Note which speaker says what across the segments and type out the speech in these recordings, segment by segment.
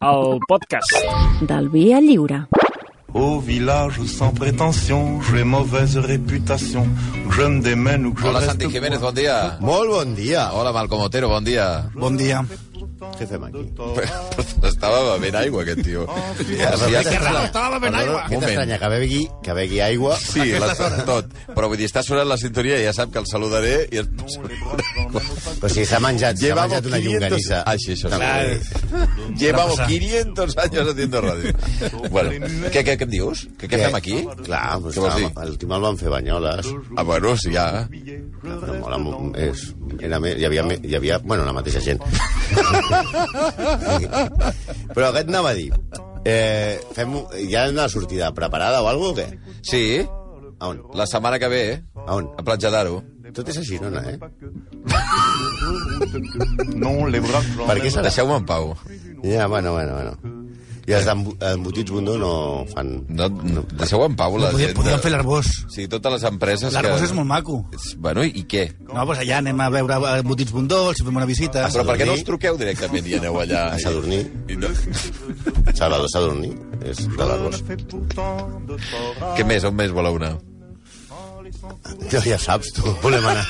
Speaker 1: el podcast.
Speaker 2: del Via Lliure.
Speaker 3: Au village sans prétention, j'ai mauvaise réputation. Je me démène ou que je
Speaker 4: Hola,
Speaker 3: reste
Speaker 4: Santi Jiménez, bon dia.
Speaker 5: Molt bon dia.
Speaker 4: Hola, Malcom Otero, bon dia.
Speaker 5: Bon dia. Què fem aquí?
Speaker 4: Estava bevent aigua, aquest tio. Ja, ja,
Speaker 5: Que raro, estava
Speaker 4: bevent aigua.
Speaker 5: Què t'estranya? Que bevegui, que begui aigua?
Speaker 4: Sí, la, tot. Però vull dir, està sonant la sintonia i ja sap que el saludaré i... Es...
Speaker 5: Però si s'ha menjat, s'ha
Speaker 4: Llevamos
Speaker 5: menjat una
Speaker 4: 500
Speaker 5: llonganissa.
Speaker 4: Ah, sí, això sí. Llevamos 500 años haciendo radio. Bueno, què, què, què em dius? Què, què fem aquí?
Speaker 5: Clar, però
Speaker 4: Què vols dir?
Speaker 5: estava- el Timó el van fer banyoles.
Speaker 4: Ah, bueno, sí, ja.
Speaker 5: Però mola, mo- és, era més, hi, havia, me- hi havia... Bueno, la mateixa gent. Però aquest anava a dir... Eh, fem, un- hi ha una sortida preparada o alguna cosa o què?
Speaker 4: Sí,
Speaker 5: A on?
Speaker 4: la setmana que ve,
Speaker 5: A on?
Speaker 4: a Platja d'Aro.
Speaker 5: Tot és a Girona, eh?
Speaker 3: Non, les bras blancs.
Speaker 5: Per què serà?
Speaker 4: Deixeu-me en pau.
Speaker 5: Ja, bueno, bueno, bueno. I els d'embu- embotits bundó no fan...
Speaker 4: No, no, deixeu en pau la gent.
Speaker 6: Podríem,
Speaker 4: de-
Speaker 6: podríem fer l'arbós.
Speaker 4: Sí, totes les empreses
Speaker 6: L'arbós
Speaker 4: que...
Speaker 6: és molt maco.
Speaker 4: Bueno, i què?
Speaker 6: No, doncs allà anem a veure eh, botits bundols, fem una visita.
Speaker 4: Ah, però per què no
Speaker 5: Sadurní.
Speaker 4: us truqueu directament i aneu allà?
Speaker 5: A Sadurní.
Speaker 4: I no...
Speaker 5: Salvador Sadurní és de l'arbós.
Speaker 4: Què més? On més voleu anar?
Speaker 5: Ja, ja saps, tu. Volem anar.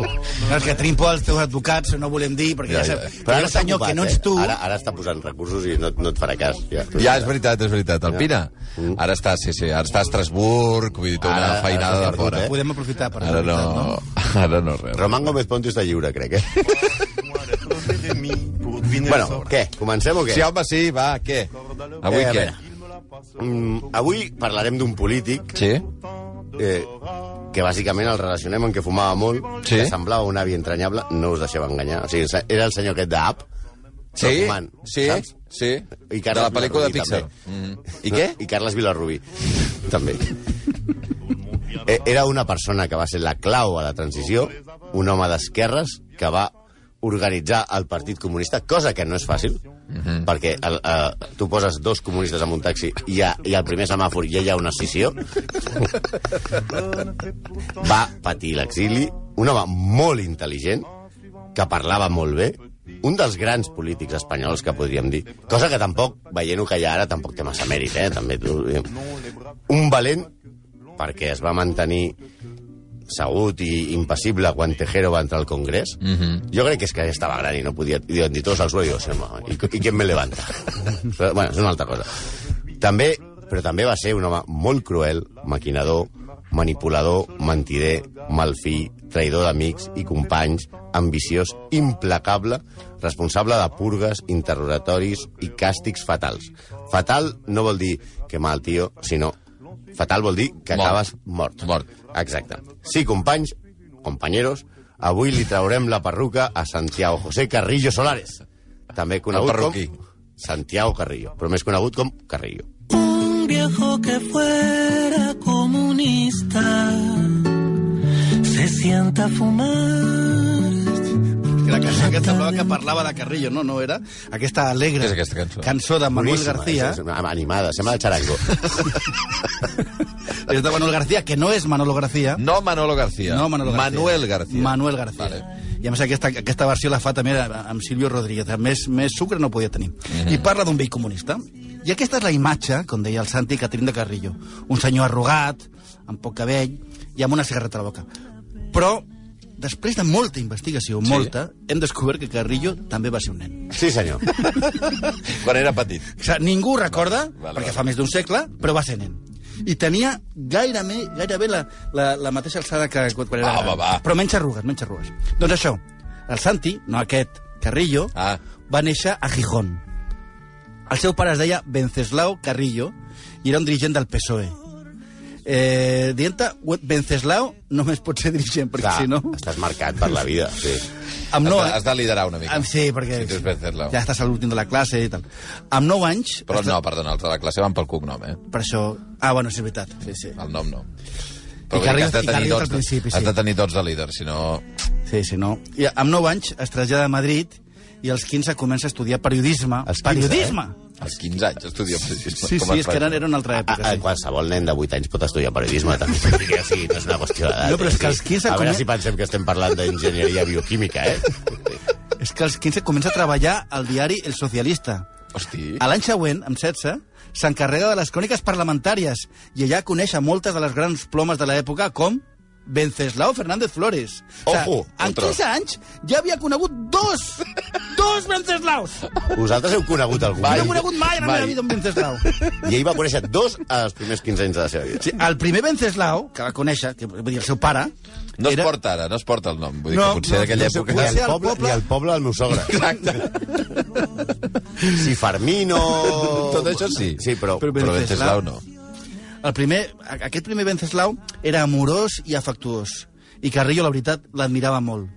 Speaker 6: No, és que tenim por als teus advocats, no volem dir, perquè ja, ja, ja. Però ara, senyor, que no ets tu...
Speaker 5: Eh? Ara, ara està posant recursos i no, no et farà cas. Ja,
Speaker 4: Ja, és veritat, és veritat. El
Speaker 5: Ja. Mm.
Speaker 4: Pina. Ara està, sí, sí. Ara està a Estrasburg, vull dir, té
Speaker 5: Ara-
Speaker 4: una
Speaker 5: ara
Speaker 4: feinada
Speaker 5: s'ha
Speaker 4: de
Speaker 5: perdut,
Speaker 4: fora.
Speaker 5: eh?
Speaker 6: Podem aprofitar per...
Speaker 4: Ara no... Ara no res.
Speaker 5: Román Gómez Ponti està lliure, crec, eh?
Speaker 3: Pour deviner
Speaker 5: bueno, què? Comencem o què?
Speaker 4: Sí, home, sí, va, què? Avui
Speaker 5: Eh, a
Speaker 4: què?
Speaker 5: Mm, avui parlarem d'un polític
Speaker 4: Sí?
Speaker 5: eh, que bàsicament el relacionem amb que fumava molt,
Speaker 4: Sí.
Speaker 5: que semblava un avi entranyable, no us deixeu enganyar. O sigui, se- era el senyor aquest d'App,
Speaker 4: Sí?
Speaker 5: fumant,
Speaker 4: Sí?
Speaker 5: saps?
Speaker 4: Sí?
Speaker 5: I
Speaker 4: De
Speaker 5: Carles
Speaker 4: la pel·lícula de
Speaker 5: Vilarrubí,
Speaker 4: Pixar. Mhm. I què?
Speaker 5: I Carles Vilarrubí, també. Eh, Era una persona que va ser la clau a la transició, un home d'esquerres que va organitzar el Partit Comunista, cosa que no és fàcil,
Speaker 4: Mhm.
Speaker 5: perquè el, eh, tu poses dos comunistes en un taxi i, a, i al primer semàfor ja hi ha una scissió. va patir l'exili, un home molt intel·ligent, que parlava molt bé, un dels grans polítics espanyols que podríem dir, cosa que tampoc, veient-ho que hi ha ara, tampoc té massa mèrit, eh? També t'ho dic. un valent perquè es va mantenir segut i impassible quan Tejero va entrar al Congrés. Mm -hmm. Jo crec que és que ja estava gran i no podia... I diuen, ni tots els sueños, home, i, i qui me levanta? Però, bueno, és una altra cosa. També, però també va ser un home molt cruel, maquinador, manipulador, mentider, malfi, traïdor d'amics i companys, ambiciós, implacable, responsable de purgues, interrogatoris i càstigs fatals. Fatal no vol dir que mal, tio, sinó fatal vol dir que
Speaker 4: Mort.
Speaker 5: acabes mort.
Speaker 4: Mort.
Speaker 5: Exacte. Sí, companys, compañeros, avui li traurem la perruca a Santiago José Carrillo Solares, també conegut com
Speaker 4: perruquí.
Speaker 5: Santiago Carrillo, però més conegut com Carrillo.
Speaker 7: un viejo que fuera comunista se sienta a fumar
Speaker 6: Que la cançó que semblava que parlava de Carrillo, no, no era? Aquesta alegre
Speaker 4: Què és aquesta cançó? eh,
Speaker 6: cançó de Manuel
Speaker 5: Boníssima, eh?
Speaker 6: García,
Speaker 5: és- és animada, sembla el xarango.
Speaker 6: és de Manuel García, que no és Manolo García.
Speaker 4: No Manolo García.
Speaker 6: No, Manolo García.
Speaker 4: Manuel García.
Speaker 6: Manuel García.
Speaker 4: Vale.
Speaker 6: Vale. I a més aquesta, aquesta versió la fa també amb Silvio Rodríguez. Més, més sucre no podia tenir.
Speaker 4: Eh.
Speaker 6: I parla d'un vell comunista. I aquesta és la imatge, com deia el Santi, que tenim de Carrillo. Un senyor arrugat, amb poc cabell i amb una cigarreta a la boca. Però, després de molta investigació, molta, hem descobert que Carrillo també va ser un nen.
Speaker 5: Sí, senyor.
Speaker 4: Quan era petit.
Speaker 6: O sigui, ningú recorda,
Speaker 4: vale,
Speaker 6: perquè
Speaker 4: vale.
Speaker 6: fa més d'un segle, però va ser nen. I tenia gairebé, gairebé la, la, la mateixa alçada que quan era...
Speaker 4: Ah, Va, va, va.
Speaker 6: Però menys arrugues, menys arrugues. Doncs això, el Santi, no aquest, Carrillo,
Speaker 4: Ah.
Speaker 6: va néixer a Gijón. El seu pare es deia Venceslao Carrillo i era un dirigent del PSOE. E. Eh, Dienta, Venceslao només pot ser dirigent, perquè
Speaker 5: Clar,
Speaker 6: si no...
Speaker 5: Estàs marcat per la vida, sí.
Speaker 4: Has
Speaker 6: Amb
Speaker 4: de-
Speaker 6: nou,
Speaker 4: Has de liderar una mica.
Speaker 6: amb, ah, sí, perquè
Speaker 4: Si tu és Venceslao.
Speaker 6: ja estàs a l'últim de la classe i tal. Amb 9 anys...
Speaker 4: Però no, perdona, els de la classe van pel cognom, eh?
Speaker 6: Per això... Ah, bueno, sí, és veritat. Sí, sí.
Speaker 4: El nom no.
Speaker 6: I
Speaker 4: vull dir
Speaker 6: Carrillo-
Speaker 4: has de
Speaker 6: i
Speaker 4: tenir
Speaker 6: Carrillo
Speaker 4: tots-
Speaker 6: al principi, sí.
Speaker 4: Has de tenir tots de líder, si no...
Speaker 6: sí, sí no. I amb 9 anys es trasllada a Madrid i als 15 comença a estudiar periodisme.
Speaker 5: Als 15,
Speaker 6: periodisme!
Speaker 4: Als 15 anys estudia periodisme.
Speaker 6: Sí,
Speaker 4: eh? Com Ah,
Speaker 6: sí,
Speaker 4: es
Speaker 6: és
Speaker 4: fa
Speaker 6: que era,
Speaker 4: això?
Speaker 6: era una altra
Speaker 5: A,
Speaker 6: època.
Speaker 5: a,
Speaker 6: Sí.
Speaker 5: qualsevol nen de 8 anys pot estudiar periodisme, també. O sigui, no és una qüestió d'edat.
Speaker 6: No, però és que
Speaker 5: eh?
Speaker 6: els 15
Speaker 5: A veure
Speaker 6: comen-
Speaker 5: si pensem que estem parlant d'enginyeria bioquímica, eh?
Speaker 6: És que als 15 comença a treballar al diari El Socialista,
Speaker 4: Hosti.
Speaker 6: A l'any següent, amb 16, s'encarrega de les cròniques parlamentàries i allà coneix a moltes de les grans plomes de l'època com Venceslao Fernández Flores.
Speaker 4: Ojo,
Speaker 6: en
Speaker 4: otro.
Speaker 6: 15 anys ja havia conegut dos! Dos Venceslaos!
Speaker 5: Vosaltres heu conegut algú.
Speaker 6: No
Speaker 4: Vai.
Speaker 6: he conegut mai en la
Speaker 4: Mai.
Speaker 6: meva vida un Venceslau.
Speaker 5: I ell va conèixer dos als primers 15 anys de la seva vida.
Speaker 6: Sí, el primer Venceslau, que va conèixer, que vull dir, el seu pare...
Speaker 4: No es porta ara, no es porta el nom. Vull dir
Speaker 6: No,
Speaker 4: que potser
Speaker 6: no,
Speaker 4: d'aquella
Speaker 6: no sé
Speaker 4: època...
Speaker 5: I
Speaker 6: Va
Speaker 5: el,
Speaker 6: ser al
Speaker 5: poble,
Speaker 6: poble-
Speaker 5: I el poble del meu sogre.
Speaker 4: Exacte.
Speaker 5: Si Fermino...
Speaker 4: Tot això sí.
Speaker 5: Sí, però...
Speaker 6: Però
Speaker 4: Però Venceslau
Speaker 6: Venceslau
Speaker 4: no.
Speaker 6: El primer, aquest primer Venceslau era amorós i afectuós. I Carrillo, la veritat, l'admirava molt.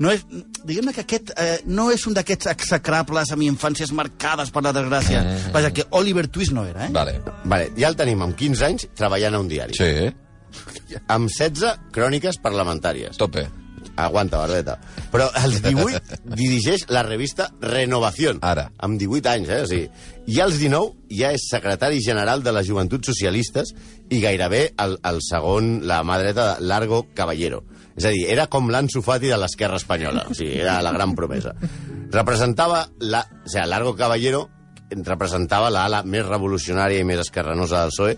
Speaker 6: No és, diguem-ne que aquest eh, no és un d'aquests execrables amb infàncies marcades per la desgràcia. Vaja, que Oliver Twist no era, eh?
Speaker 4: Vale.
Speaker 5: Vale, ja el tenim amb 15 anys treballant a un diari.
Speaker 4: Sí,
Speaker 5: Amb 16 cròniques parlamentàries.
Speaker 4: tope.
Speaker 5: Aguanta, Barbeta. Però als 18 dirigeix la revista Renovación.
Speaker 4: Ara.
Speaker 5: Amb 18 anys, eh? O sigui, I als 19 ja és secretari general de les Joventuts Socialistes i gairebé el, el segon, la mà dreta, de Largo Caballero. És a dir, era com l'Anso Fati de l'esquerra espanyola. O sigui, era la gran promesa. Representava la... O sigui, Largo Caballero representava l'ala més revolucionària i més esquerranosa del PSOE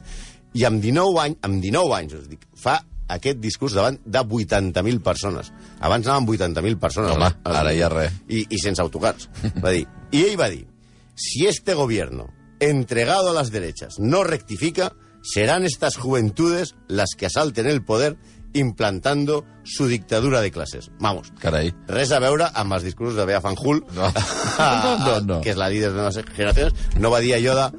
Speaker 5: E i amb 19 anys, amb 19 anys us dic, fa aquest discurs davant de 80.000 persones. Abans anaven 80.000 persones. eh?
Speaker 4: Home,
Speaker 5: Als- als-
Speaker 4: ara ja res.
Speaker 5: y, y sense autocars. Va dir, y ell va dir, si este gobierno, entregado a las derechas, no rectifica, serán estas juventudes las que asalten el poder implantando su dictadura de clases. Vamos.
Speaker 4: Carai.
Speaker 5: Res a veure amb els discursos de Bea Fanjul,
Speaker 4: No. No, no.
Speaker 5: que es la líder de nuevas generaciones. No va a Yoda.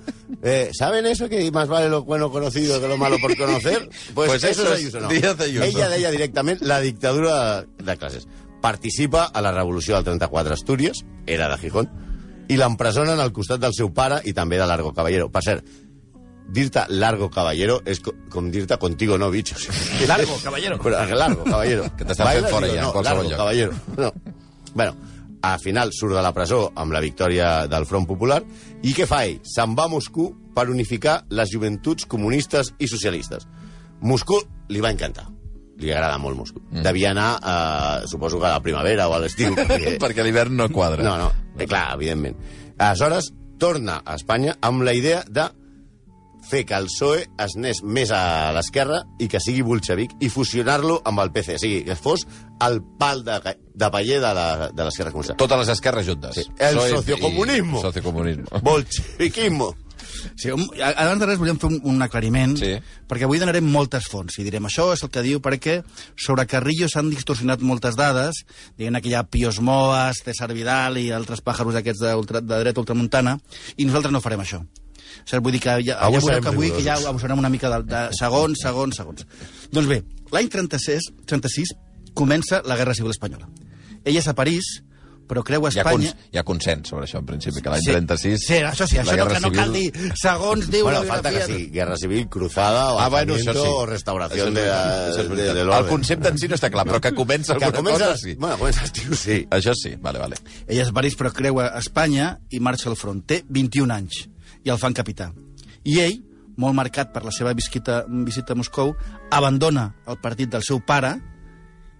Speaker 5: eh, ¿Saben eso que más vale lo bueno conocido que lo malo por conocer? Pues,
Speaker 4: Pues
Speaker 5: eso,
Speaker 4: eso
Speaker 5: es Ayuso,
Speaker 4: es
Speaker 5: no.
Speaker 4: Díaz Ayuso.
Speaker 5: Ella deia directament la dictadura de, de classes. Participa a la revolució del 34 a Astúries, era de Gijón, i l'empresonen al costat del seu pare i també de Largo Caballero. Per cert, dir-te Largo Caballero és co com dir-te contigo no, bichos. Largo Caballero. Però, largo Caballero.
Speaker 4: Que t'estan fent
Speaker 5: Bailes,
Speaker 4: fora
Speaker 5: digo,
Speaker 4: ja, en
Speaker 5: no,
Speaker 4: qualsevol
Speaker 5: largo,
Speaker 4: lloc.
Speaker 5: Caballero. No. Bueno, al final surt de la presó amb la victòria del Front Popular i què fa ell? Se'n va a Moscou per unificar les joventuts comunistes i socialistes. Moscou li va encantar. Li agrada molt Moscou. Mm. Devia anar, eh, suposo que a la primavera o a l'estiu.
Speaker 6: Eh,
Speaker 5: perquè-
Speaker 4: Perquè a l'hivern no quadra.
Speaker 5: no, no, eh, clar, evidentment. Aleshores, torna a Espanya amb la idea de fer que el PSOE E es anés més a l'esquerra i que sigui bolxevic i fusionar-lo amb el PC. O sigui, que fos el pal de, ca- de paller de la- de l'esquerra comunista.
Speaker 4: Totes les esquerres juntes.
Speaker 5: Sí. El
Speaker 4: PSOE i-
Speaker 5: sociocomunismo.
Speaker 4: Sociocomunismo.
Speaker 5: Bolxeviquismo.
Speaker 6: Sí, un, a- abans de res volíem fer un, un aclariment,
Speaker 4: Sí.
Speaker 6: perquè avui donarem moltes fonts, i direm això és el que diu perquè sobre Carrillo s'han distorsionat moltes dades, diguem que hi ha Pios Moas, César Vidal i altres pàjaros aquests de, ultra, de dreta ultramuntana, i nosaltres no farem això. O sigui, vull dir que ja,
Speaker 5: Avui
Speaker 6: ja veureu
Speaker 5: serem
Speaker 6: que avui que ja
Speaker 5: rigorosos.
Speaker 6: abusarem una mica de, de segons, segons, segons. Doncs bé, l'any 36, 36 comença la Guerra Civil Espanyola. Ella és a París, però creu a
Speaker 4: Hi ha, cons,
Speaker 6: Espanya...
Speaker 4: hi ha consens sobre això, en principi, que l'any 36...
Speaker 6: Sí, això sí,
Speaker 4: la
Speaker 6: això no,
Speaker 4: Guerra
Speaker 6: que no cal dir
Speaker 4: Civil-
Speaker 6: segons diu
Speaker 5: Bueno,
Speaker 6: la
Speaker 5: falta que
Speaker 6: biografia.
Speaker 5: sigui guerra civil, cruzada, o
Speaker 4: Ah, bueno, això
Speaker 5: alzamiento,
Speaker 4: sí.
Speaker 5: o restauració
Speaker 4: Això és
Speaker 5: de,
Speaker 4: veritat, això és
Speaker 5: de,
Speaker 4: veritat.
Speaker 5: de
Speaker 4: El
Speaker 5: l'ordre.
Speaker 4: concepte en si no està clar, però que comença
Speaker 5: Que
Speaker 4: alguna
Speaker 5: comença...
Speaker 4: cosa, sí.
Speaker 5: Bueno, comença l'estiu, sí.
Speaker 4: Això sí, vale, vale.
Speaker 6: Ella és París, però creu a Espanya i marxa al front. Té 21 anys i el fan capità. I ell, molt marcat per la seva visita, visita a Moscou, abandona el partit del seu pare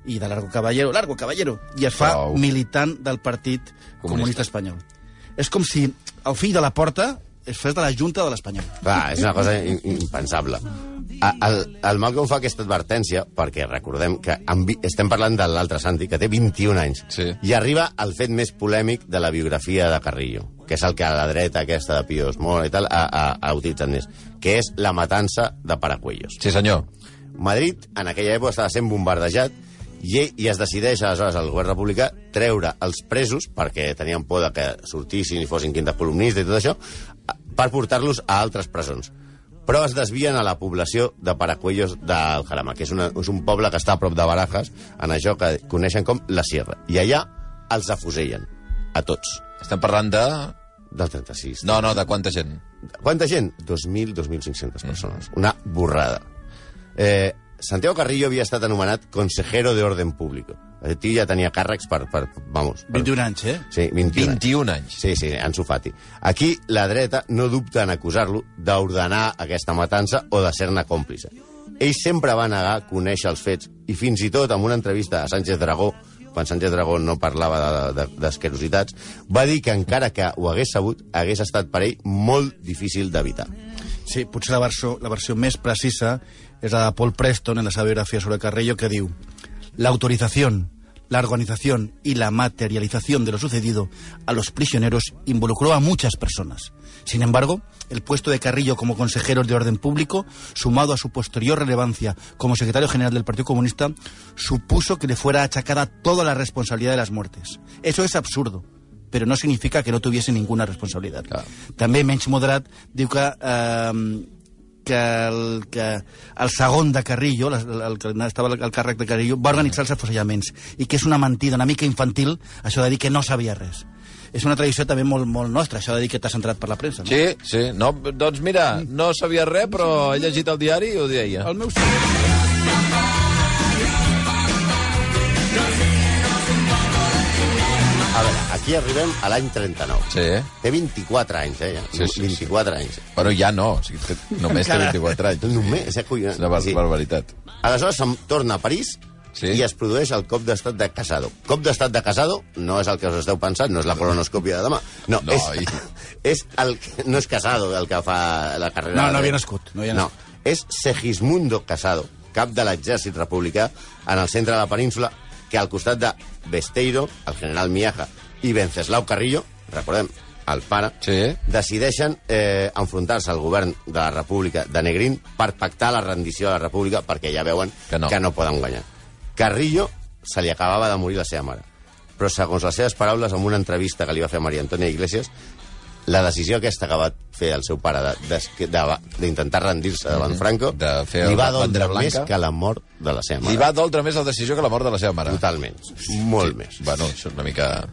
Speaker 6: i de Largo Caballero, Largo Caballero, i es fa
Speaker 4: Prou.
Speaker 6: militant del partit comunista.
Speaker 4: Comunista.
Speaker 6: comunista espanyol. És com si el fill de la porta es fes de la junta de l'Espanyol.
Speaker 5: Clar, és una cosa in- impensable. A- El, el Malcolm fa aquesta advertència perquè recordem que amb, vi- estem parlant de l'altre Santi, que té 21 anys,
Speaker 4: Sí.
Speaker 5: i arriba al fet més polèmic de la biografia de Carrillo, que és el que a la dreta aquesta de Pios Mora i tal ha, ha, ha utilitzat més, que és la matança de Paracuellos.
Speaker 4: Sí, senyor.
Speaker 5: Madrid, en aquella època, estava sent bombardejat i, i es decideix aleshores el govern republicà treure els presos, perquè tenien por de que sortissin i fossin quinta columnista i tot això, per portar-los a altres presons. Però es desvien a la població de Paracuellos del Jarama, que és, una, és un poble que està a prop de Barajas, en això que coneixen com la Sierra. I allà els afusellen, a tots,
Speaker 4: Estem parlant de...
Speaker 5: del 36.
Speaker 4: No, no, de quanta gent?
Speaker 5: Quanta gent? 2.000, 2.500 persones. Una borrada. Eh, Santiago Carrillo havia estat anomenat consejero de orden público. Eh, El tio ja tenia càrrecs per... per vamos, per,
Speaker 6: 21 anys, eh?
Speaker 5: Sí, 21.
Speaker 4: 21 anys.
Speaker 5: Sí, sí, Ansu Fati. Aquí la dreta no dubta en acusar-lo d'ordenar aquesta matança o de ser-ne còmplice. Ell sempre va negar conèixer els fets i fins i tot en una entrevista a Sánchez Dragó quan Sánchez Dragón no parlava de- de- d'asquerositats, va dir que encara que ho hagués sabut, hagués estat per ell molt difícil d'evitar.
Speaker 6: Sí, potser la versió, la versió més precisa és la de Paul Preston en la seva biografia sobre Carrillo, que diu «La autorización, la organización y la materialización de lo sucedido a los prisioneros involucró a muchas personas. Sin embargo, el puesto de Carrillo como consejero de orden público, sumado a su posterior relevancia como secretario general del Partido Comunista, supuso que le fuera achacada toda la responsabilidad de las muertes. Eso es absurdo però no significa que no tuviese ninguna responsabilitat. Clar. També menys moderat diu que, eh, que, el, que el segon de Carrillo, les- el, el que estava al càrrec de Carrillo, va organitzar els afusellaments i que és una mentida una mica infantil això de dir que no sabia res. És una tradició també molt, molt nostra, això de dir que t'has entrat per la premsa. No?
Speaker 4: Sí, sí. No, doncs mira, no sabia res, però he llegit el diari i ho deia.
Speaker 6: El meu senyor...
Speaker 5: A veure, aquí arribem a l'any 39.
Speaker 4: Sí.
Speaker 5: Té 24 anys, eh? Ja.
Speaker 4: Sí, sí, sí.
Speaker 5: 24 anys.
Speaker 4: Bueno, ja no, o sigui, té- només té 24 anys.
Speaker 5: Només, és acollonant.
Speaker 4: És una bar
Speaker 5: Sí.
Speaker 4: barbaritat.
Speaker 5: Aleshores se'n torna a París
Speaker 4: Sí.
Speaker 5: sí. i es produeix el cop d'estat de Casado. Cop d'estat de Casado no és el que us esteu pensant, no és la colonoscòpia de demà. No,
Speaker 4: No,
Speaker 5: no és,
Speaker 4: i-
Speaker 5: és el, que- no és Casado el que fa la carrera...
Speaker 6: No, no
Speaker 5: de-
Speaker 6: havia nascut, no havia
Speaker 5: no, és Segismundo Casado, cap de l'exèrcit republicà en el centre de la península, que al costat de Besteiro, el general Miaja, i Venceslau Carrillo, recordem, el pare,
Speaker 4: Sí.
Speaker 5: decideixen eh, enfrontar-se al govern de la República de Negrín per pactar la rendició de la República perquè ja veuen
Speaker 4: Que no.
Speaker 5: que no poden guanyar. Carrillo se li acabava de morir la seva mare. Però segons les seves paraules, en una entrevista que li va fer Maria Antònia Iglesias, la decisió aquesta que va fer el seu pare d'intentar de, de, d'intentar rendir-se davant Franco
Speaker 4: Mhm. De fer
Speaker 5: li va
Speaker 4: la bandera
Speaker 5: doldre més
Speaker 4: blanca.
Speaker 5: que la mort de la seva mare.
Speaker 4: Li va doldre més la decisió que la mort de la seva mare.
Speaker 5: Totalment. Molt més.
Speaker 4: Bueno, això és una mica...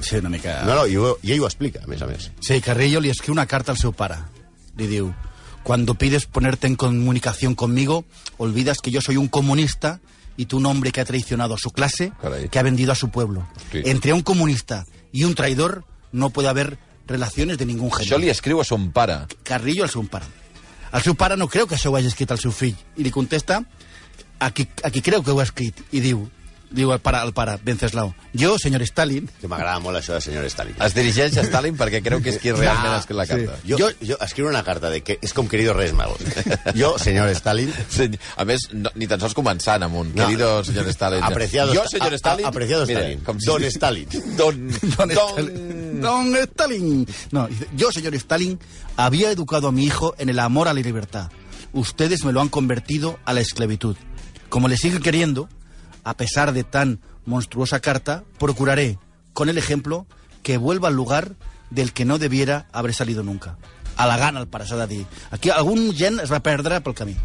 Speaker 6: Sí, una mica...
Speaker 5: No, no, i, ho, i ell ho explica, a més a més.
Speaker 6: Sí, Carrillo le escribe una carta al seu para. Le digo, cuando pides ponerte en comunicación conmigo, olvidas que yo soy un comunista y tú un hombre que ha traicionado a su clase,
Speaker 4: Caray.
Speaker 6: que ha vendido a su pueblo.
Speaker 4: Hosti.
Speaker 6: Entre un comunista y un traidor no puede haber relaciones de ningún género.
Speaker 4: Això li escriu a son pare.
Speaker 6: Carrillo al seu pare. El seu pare no creu que això ho hagi escrit el seu fill i li contesta a qui, a qui creu que ho ha escrit i diu, diu el pare, el pare Venceslao, jo, senyor Stalin,
Speaker 5: Que m'agrada molt això de senyor Stalin.
Speaker 4: Es dirigeix a Stalin perquè creu que és qui realment ha escrit la carta.
Speaker 5: Yo, yo, escribo una carta de que es con querido Reyes Magos. Yo, señor Stalin,
Speaker 4: Sí. A més, no, ni tan sols començant amb un
Speaker 5: No.
Speaker 4: querido senyor Stalin.
Speaker 5: Apreciado
Speaker 4: jo,
Speaker 5: sta-
Speaker 4: senyor
Speaker 5: a- a-
Speaker 4: Stalin...
Speaker 5: apreciado Stalin. Don Stalin.
Speaker 4: Don, don,
Speaker 6: Don, Stalin. Don Stalin. No, dice, yo, señor Stalin, había educado a mi hijo en el amor a la libertad. Ustedes me lo han convertido a la esclavitud. Como le siguen queriendo, a pesar de tan monstruosa carta, procuraré, con el ejemplo, que vuelva al lugar del que no debiera haber salido nunca. A la gana, al parasada de Aquí algún gen es va perdre pel camí.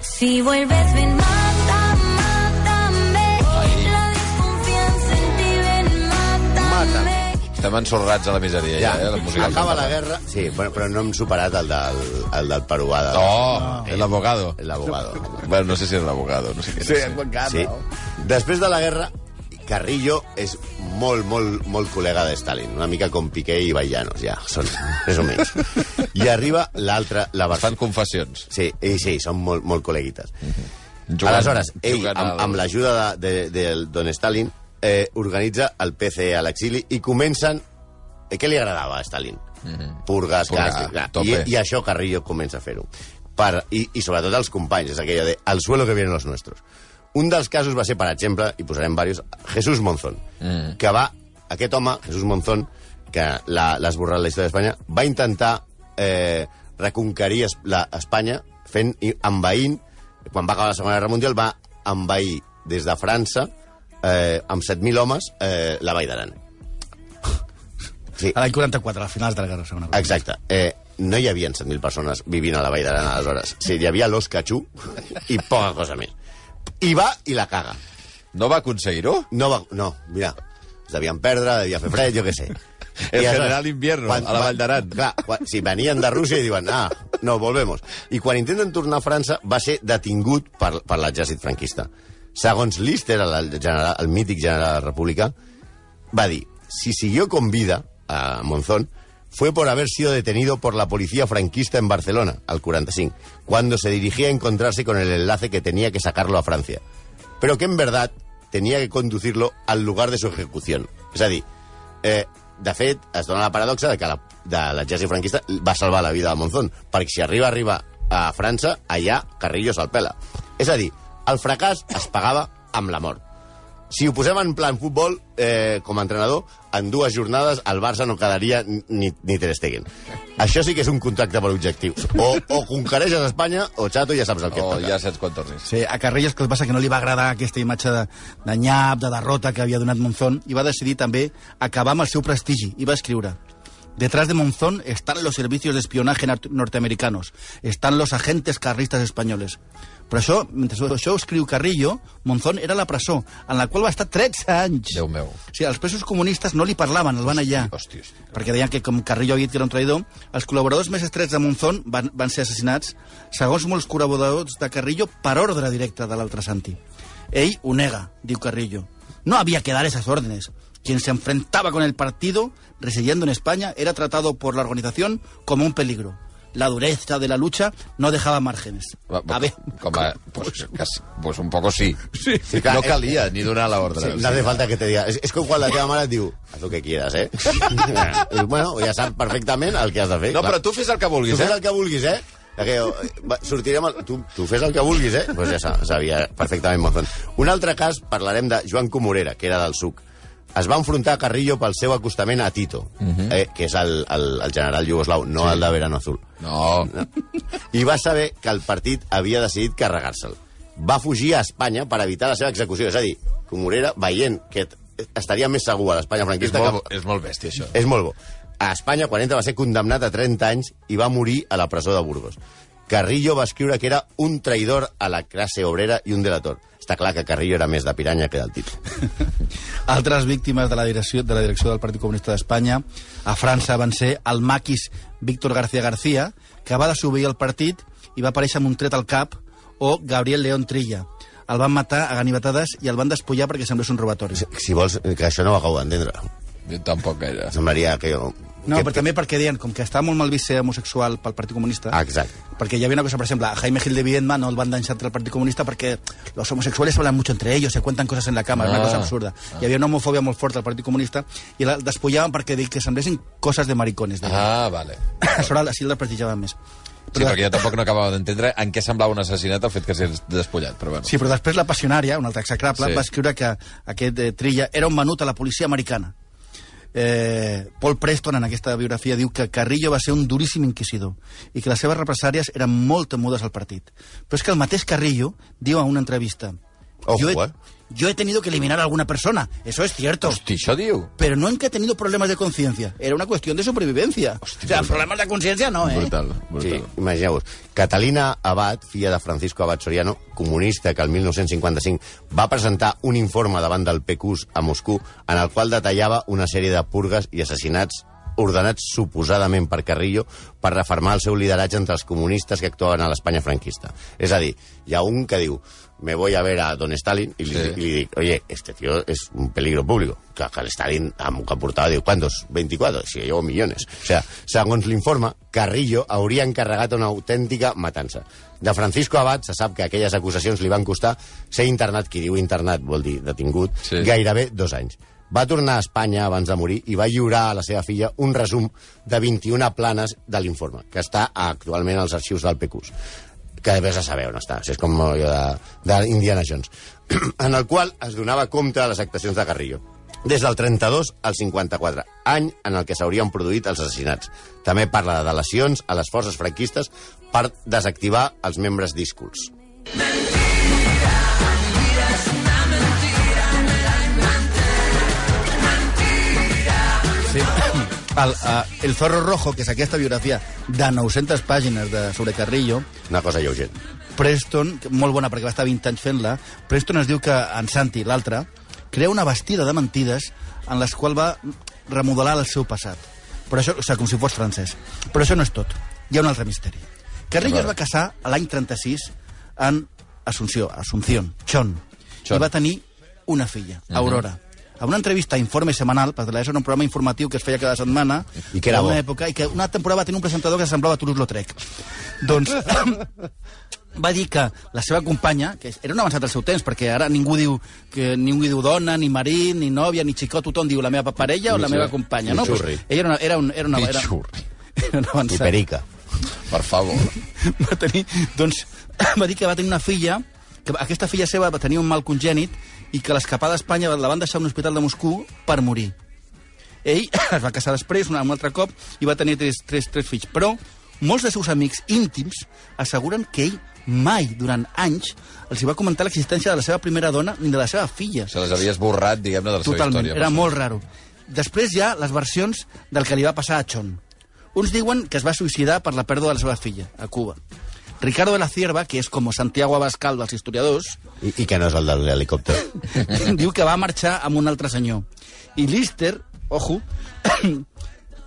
Speaker 1: Si vuelves, ven, mata, mátame. La desconfianza en ti, ven, mátame.
Speaker 4: Estem ensorrats a la miseria, ja, eh? La música
Speaker 5: acaba la guerra. Sí, bueno, però no hem superat el del, el del peruà. De, Ah.
Speaker 4: No, el abogado.
Speaker 5: L'abogado.
Speaker 4: Bueno, no sé si és l'abogado, no sé què. no sé.
Speaker 5: Sí. Després de la guerra, Carrillo és molt, molt, molt col·lega de Stalin. Una mica com Piqué i Baillanos, ja. Són, més o menys. I arriba l'altra, la
Speaker 4: Es fan
Speaker 5: versió...
Speaker 4: confessions.
Speaker 5: Sí, i sí, són molt, molt col·leguites.
Speaker 4: Jugant-
Speaker 5: Aleshores, ell,
Speaker 4: jugant
Speaker 5: amb,
Speaker 4: al-
Speaker 5: amb l'ajuda de, de, de Don Stalin, eh, organitza el PC a l'exili i comencen... Eh, què li agradava a Stalin? Mm -hmm. Purgues,
Speaker 4: Purgar,
Speaker 5: gas... clar.
Speaker 4: Mhm. tope.
Speaker 5: I, I això Carrillo comença a fer-ho. Per, i, I sobretot els companys, és aquella de al suelo que vienen los nuestros. Un dels casos va ser, per exemple, i posarem varios, Jesús Monzón, mm. que va, aquest home, Jesús Monzón, que l'ha l'ha esborrat la història d'Espanya, va intentar eh, reconquerir es, la, Espanya fent, i envaint, quan va acabar la Segona Guerra Mundial, va envair des de França eh, amb 7.000 homes eh, la Vall d'Aran. Sí,
Speaker 6: A l'any 44, a finals de la Guerra Segona.
Speaker 5: Exacte. Eh, no hi havia 7.000 persones vivint a la Vall d'Aran aleshores. Sí, hi havia l'os catxú i poca cosa més. I va i la caga.
Speaker 4: No va aconseguir-ho?
Speaker 5: No, va, no mira, es devien perdre, devia fer fred, jo què sé.
Speaker 4: El
Speaker 5: I aleshores,
Speaker 4: general invierno, a la Vall d'Aran.
Speaker 5: Clar, quan, si venien de Rússia i diuen, ah, no, volvemos. I quan intenten tornar a França va ser detingut per, per l'exèrcit franquista. Segons Lister, el, general, el mític general republicà, va dir, si siguió con vida a Monzón, fue por haber sido detenido por la policía franquista en Barcelona, al 45, cuando se dirigía a encontrarse con el enlace que tenía que sacarlo a Francia. Pero que en verdad tenía que conducirlo al lugar de su ejecución. És a dir, eh, de fet, es dona la paradoxa de que la, de l'exèrcit franquista va salvar la vida de Monzón, perquè si arriba, arriba a França, allà Carrillo se'l pela. És a dir, el fracàs es pagava amb la mort. Si ho posem en plan futbol, eh, com a entrenador, en dues jornades el Barça no quedaria ni, ni Ter Stegen. Això sí que és un contracte per objectius. O, o conquereixes Espanya, o Chato ja saps el que et
Speaker 4: O
Speaker 5: toca.
Speaker 4: Oh, ja saps quan tornis.
Speaker 6: Sí, a Carrillo el que passa que no li va agradar aquesta imatge de, de nyap, de derrota que havia donat Monzón i va decidir també acabar amb el seu prestigi i va escriure Detrás de Monzón están los servicios de espionaje nat- norteamericanos, están los agentes carristas españoles. Però això, mentre això ho escriu Carrillo, Monzón era a la presó, en la qual va estar 13 anys.
Speaker 4: Déu meu.
Speaker 6: O sigui, els presos comunistes no li parlaven, el van allà.
Speaker 4: hòstia, hòstia.
Speaker 6: Perquè deien que, com Carrillo havia dit que era un traïdor, els col·laboradors més estrets de Monzón van, van ser assassinats, segons molts col·laboradors de Carrillo, per ordre directe de l'altre Santi. Ell ho nega, diu Carrillo. No había que dar esas órdenes. Quien se enfrentaba con el partido, residiendo en España, era tratado por la organización como un peligro. La dureza de la lucha no dejaba márgenes.
Speaker 4: Va, va,
Speaker 6: A ver,
Speaker 4: Com a, pues, casi, pues un poco sí. sí.
Speaker 5: clar,
Speaker 4: No
Speaker 5: és-
Speaker 4: calia ni donar l'ordre.
Speaker 5: Sí, no hace falta que te diga. És, és com quan la teva mare et diu, haz lo que quieras, eh? Dius, bueno, ja sap perfectament el que has de fer.
Speaker 4: No,
Speaker 5: Clar.
Speaker 4: però tu fes el que
Speaker 5: Tu
Speaker 4: vulguis,
Speaker 5: fes
Speaker 4: eh?
Speaker 5: el que vulguis, eh? Aquello, eh, va, sortirem... Al... Tu, tu fes el que vulguis, eh? Pues ja sa- sabia perfectament Monzón. Un altre cas, parlarem de Joan Comorera, que era del SUC. Es va enfrontar a Carrillo pel seu acostament a Tito, uh
Speaker 4: Mhm.
Speaker 5: -huh. eh, que és el, el, el general iugoslau, no sí. el de Verano Azul.
Speaker 4: No.
Speaker 5: I va saber que el partit havia decidit carregar-se'l. Va fugir a Espanya per evitar la seva execució. És a dir, Comorera, veient que t- estaria més segur a l'Espanya
Speaker 4: És
Speaker 5: franquista...
Speaker 4: molt,
Speaker 5: que...
Speaker 4: és molt bèstia, això.
Speaker 5: És molt bo. A Espanya, quan entra, va ser condemnat a 30 anys i va morir a la presó de Burgos. Carrillo va escriure que era un traïdor a la classe obrera i un delator. Està clar que Carrillo era més de piranya que del títol.
Speaker 6: Altres víctimes de la direcció de la direcció del Partit Comunista d'Espanya a França van ser el maquis Víctor García García, que va desobeir el partit i va aparèixer amb un tret al cap, o Gabriel León Trilla. El van matar a ganivetades i el van despullar perquè semblés un robatori.
Speaker 5: Si vols, que això no ho acabo d'entendre.
Speaker 4: Jo tampoc gaire.
Speaker 5: Semblaria que... Jo...
Speaker 6: No,
Speaker 5: que...
Speaker 6: però també perquè deien, com que estava molt mal vist ser homosexual pel Partit Comunista,
Speaker 5: Ah, Exacte.
Speaker 6: Perquè hi havia una cosa, per exemple, a Jaime Gil de Viedma no el van deixar entrar al Partit Comunista perquè los homosexuales hablan mucho entre ellos, se cuentan cosas en la cama, ah. una
Speaker 4: Ah.
Speaker 6: cosa absurda. Ah. Hi havia una homofòbia molt forta al Partit Comunista i la despullaven perquè deien que semblessin coses de maricones. Ah.
Speaker 4: Ah, vale.
Speaker 6: Aleshores, així el desprestigiaven més.
Speaker 4: Sí, perquè jo tampoc no acabava d'entendre en què semblava un assassinat el fet que s'és despullat, però bueno.
Speaker 6: Sí, però després la passionària, una altra execrable,
Speaker 4: Sí.
Speaker 6: sí. va escriure que aquest eh, Trilla era un menut a la policia americana. Eh, Paul Preston, en aquesta biografia, diu que Carrillo va ser un duríssim inquisidor i que les seves represàries eren molt temudes al partit. Però és que el mateix Carrillo diu a una entrevista...
Speaker 5: Ojo,
Speaker 6: yo, he,
Speaker 5: eh."
Speaker 6: yo he tenido que eliminar a alguna persona, eso es cierto.
Speaker 4: Hosti, això diu?
Speaker 6: Pero no en que he tenido problemas de conciencia, era una cuestión de supervivencia. o sea, problemas de conciencia no, ¿eh?
Speaker 4: Brutal,
Speaker 5: Sí,
Speaker 4: brutal.
Speaker 5: imagineu-vos. Catalina Abad, filla de Francisco Abad Soriano, comunista que el 1955 va presentar un informe davant del PQs a Moscou en el qual detallava una sèrie de purgues i assassinats ordenats suposadament per Carrillo per reformar el seu lideratge entre els comunistes que actuaven a l'Espanya franquista. És a dir, hi ha un que diu me voy a ver a don Stalin i li,
Speaker 4: Sí.
Speaker 5: sí. i li dic, oye, este tío es un peligro público. Que, que el Stalin, amb el que portava, diu, ¿cuántos? 24, si llevo millones. O sea, segons l'informe, Carrillo hauria encarregat una autèntica matança. De Francisco Abad se sap que aquelles acusacions li van costar ser internat, qui diu internat vol dir detingut,
Speaker 4: Sí.
Speaker 5: sí. gairebé dos anys. Va tornar a Espanya abans de morir i va lliurar a la seva filla un resum de 21 planes de l'informe, que està actualment als arxius del PQs que vés a saber on està, si és com allò de- d'Indiana Jones, en el qual es donava compte de les actuacions de Carrillo. Des del 32 al 54, any en el que s'haurien produït els assassinats. També parla de delacions a les forces franquistes per desactivar els membres díscols.
Speaker 6: Sí. El, uh, el Zorro Rojo, que és aquesta biografia de 900 pàgines de, sobre Carrillo,
Speaker 5: Una cosa lleugera.
Speaker 6: Preston, que- molt bona perquè va estar 20 anys fent-la, Preston es diu que en Santi, l'altre, crea una bastida de mentides en les qual va remodelar el seu passat. Però això, o sigui, com si fos francès. Però això no és tot. Hi ha un altre misteri. Carrillo es va casar a l'any 36 en Asunció, Asunción, Chon,
Speaker 4: Chon.
Speaker 6: Chon, i va tenir una filla, Aurora. a una entrevista a Informe Semanal, perquè l'ESO era un programa informatiu que es feia cada setmana,
Speaker 5: I que era
Speaker 6: en una
Speaker 5: bo.
Speaker 6: època, i que una temporada va tenir un presentador que semblava Toulouse-Lautrec. Doncs va dir que la seva companya, que era un avançat al seu temps, perquè ara ningú diu que ningú diu dona, ni marit, ni nòvia, ni xicot, tothom diu la meva parella o la meva companya, no? Pues,
Speaker 5: Pichurri.
Speaker 6: ella era una, era un, era una, era,
Speaker 2: Pichurri.
Speaker 6: era un
Speaker 5: I
Speaker 6: avançat
Speaker 5: Perica.
Speaker 4: Per favor.
Speaker 6: va tenir, doncs, va dir que va tenir una filla, que aquesta filla seva va tenir un mal congènit i que l'escapada a Espanya la van deixar a un hospital de Moscou per morir. Ell es va casar després, un altre cop, i va tenir tres, tres, tres fills. Però molts dels seus amics íntims asseguren que ell mai, durant anys, els hi va comentar l'existència de la seva primera dona ni de la seva filla.
Speaker 4: Se les havia esborrat, diguem-ne, de la
Speaker 6: Totalment,
Speaker 4: seva història.
Speaker 6: era molt raro. Després hi ha les versions del que li va passar a Chon. Uns diuen que es va suïcidar per la pèrdua de la seva filla, a Cuba. Ricardo de la Cierva, que és com Santiago Abascal dels historiadors,
Speaker 5: I, I que no és el de l'helicòpter.
Speaker 6: diu que va marxar amb un altre senyor. I Lister, ojo,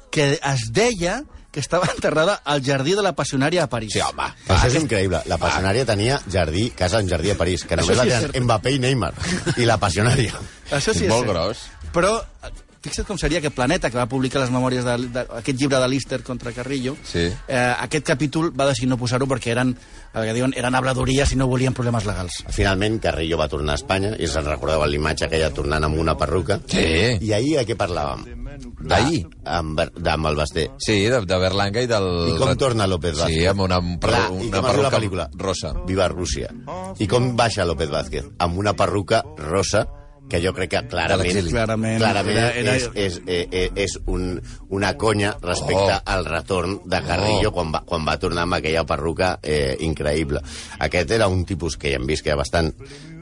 Speaker 6: que es deia que estava enterrada al jardí de la passionària a París.
Speaker 4: Sí, home.
Speaker 5: Això és increïble.
Speaker 4: Ah.
Speaker 5: La passionària tenia jardí, casa en jardí a París, que només
Speaker 6: Això
Speaker 5: la
Speaker 6: sí és
Speaker 5: tenen
Speaker 6: cert.
Speaker 5: Mbappé i Neymar. I la passionària.
Speaker 6: Això sí
Speaker 4: És
Speaker 6: és
Speaker 4: molt
Speaker 6: cert.
Speaker 4: gros.
Speaker 6: Però eh, fixa't com seria que Planeta, que va publicar les memòries d'aquest de, aquest llibre de Lister contra Carrillo,
Speaker 4: Sí.
Speaker 6: eh, aquest capítol va decidir no posar-ho perquè eren, el que diuen, eren habladories i no volien problemes legals.
Speaker 5: Finalment, Carrillo va tornar a Espanya i se'n recordava l'imatge aquella tornant amb una perruca.
Speaker 4: Sí.
Speaker 5: I ahir a què parlàvem?
Speaker 4: D'ahir?
Speaker 5: Amb, amb el Basté.
Speaker 4: Sí, de, de Berlanga i del...
Speaker 5: I com torna López Vázquez?
Speaker 4: Sí, amb una, un perru-
Speaker 5: Clar,
Speaker 4: una
Speaker 5: i com es diu la
Speaker 4: perruca
Speaker 5: pel·lícula?
Speaker 4: rosa.
Speaker 5: Viva Rússia. I com baixa López Vázquez? Amb una perruca rosa que jo crec que clarament,
Speaker 4: l'exili.
Speaker 6: Clarament.
Speaker 5: clarament
Speaker 6: Era- era-
Speaker 5: és, és, eh, eh, és un, una conya respecte
Speaker 4: Oh.
Speaker 5: al retorn de Carrillo
Speaker 4: Oh.
Speaker 5: quan, va, quan va tornar amb aquella perruca eh, increïble. Aquest era un tipus que ja hem vist que era bastant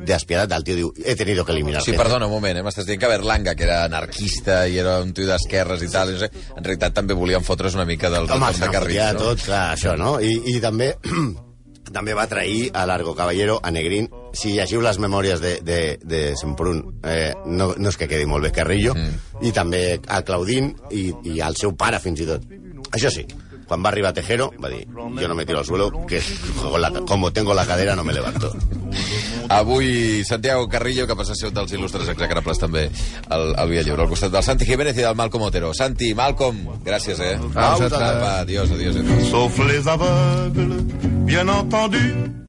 Speaker 5: despiadat. El tio diu, he tenido que eliminar
Speaker 4: Sí,
Speaker 5: gente".
Speaker 4: perdona, un moment, eh? m'estàs dient que Berlanga, que era anarquista i era un tio d'esquerres i tal, i no sé, en realitat també volien fotre's una mica del
Speaker 5: Home,
Speaker 4: retorn
Speaker 5: s'ha
Speaker 4: de Carrillo,
Speaker 5: de
Speaker 4: no?
Speaker 5: tot, clar, això, no? I, i també també va trair a Largo Caballero, a Negrín. Si llegiu les memòries de, de, de Semprún, eh, no, no és que quedi molt bé Carrillo, mm. i també a Claudín i, i al seu pare, fins i tot. Això sí, quan va arribar Tejero, va dir, yo no me tiro al suelo, que con la, como tengo la cadera no me levanto.
Speaker 4: Avui, Santiago Carrillo, que passa a ser un dels il·lustres execrables també al, al Via Lliure, al costat del Santi Jiménez i del Malcom Otero. Santi, Malcom, gràcies, eh?
Speaker 5: A vosaltres.
Speaker 4: Va, adiós, adiós, adiós.
Speaker 3: Sauf les aveugles, bien entendu.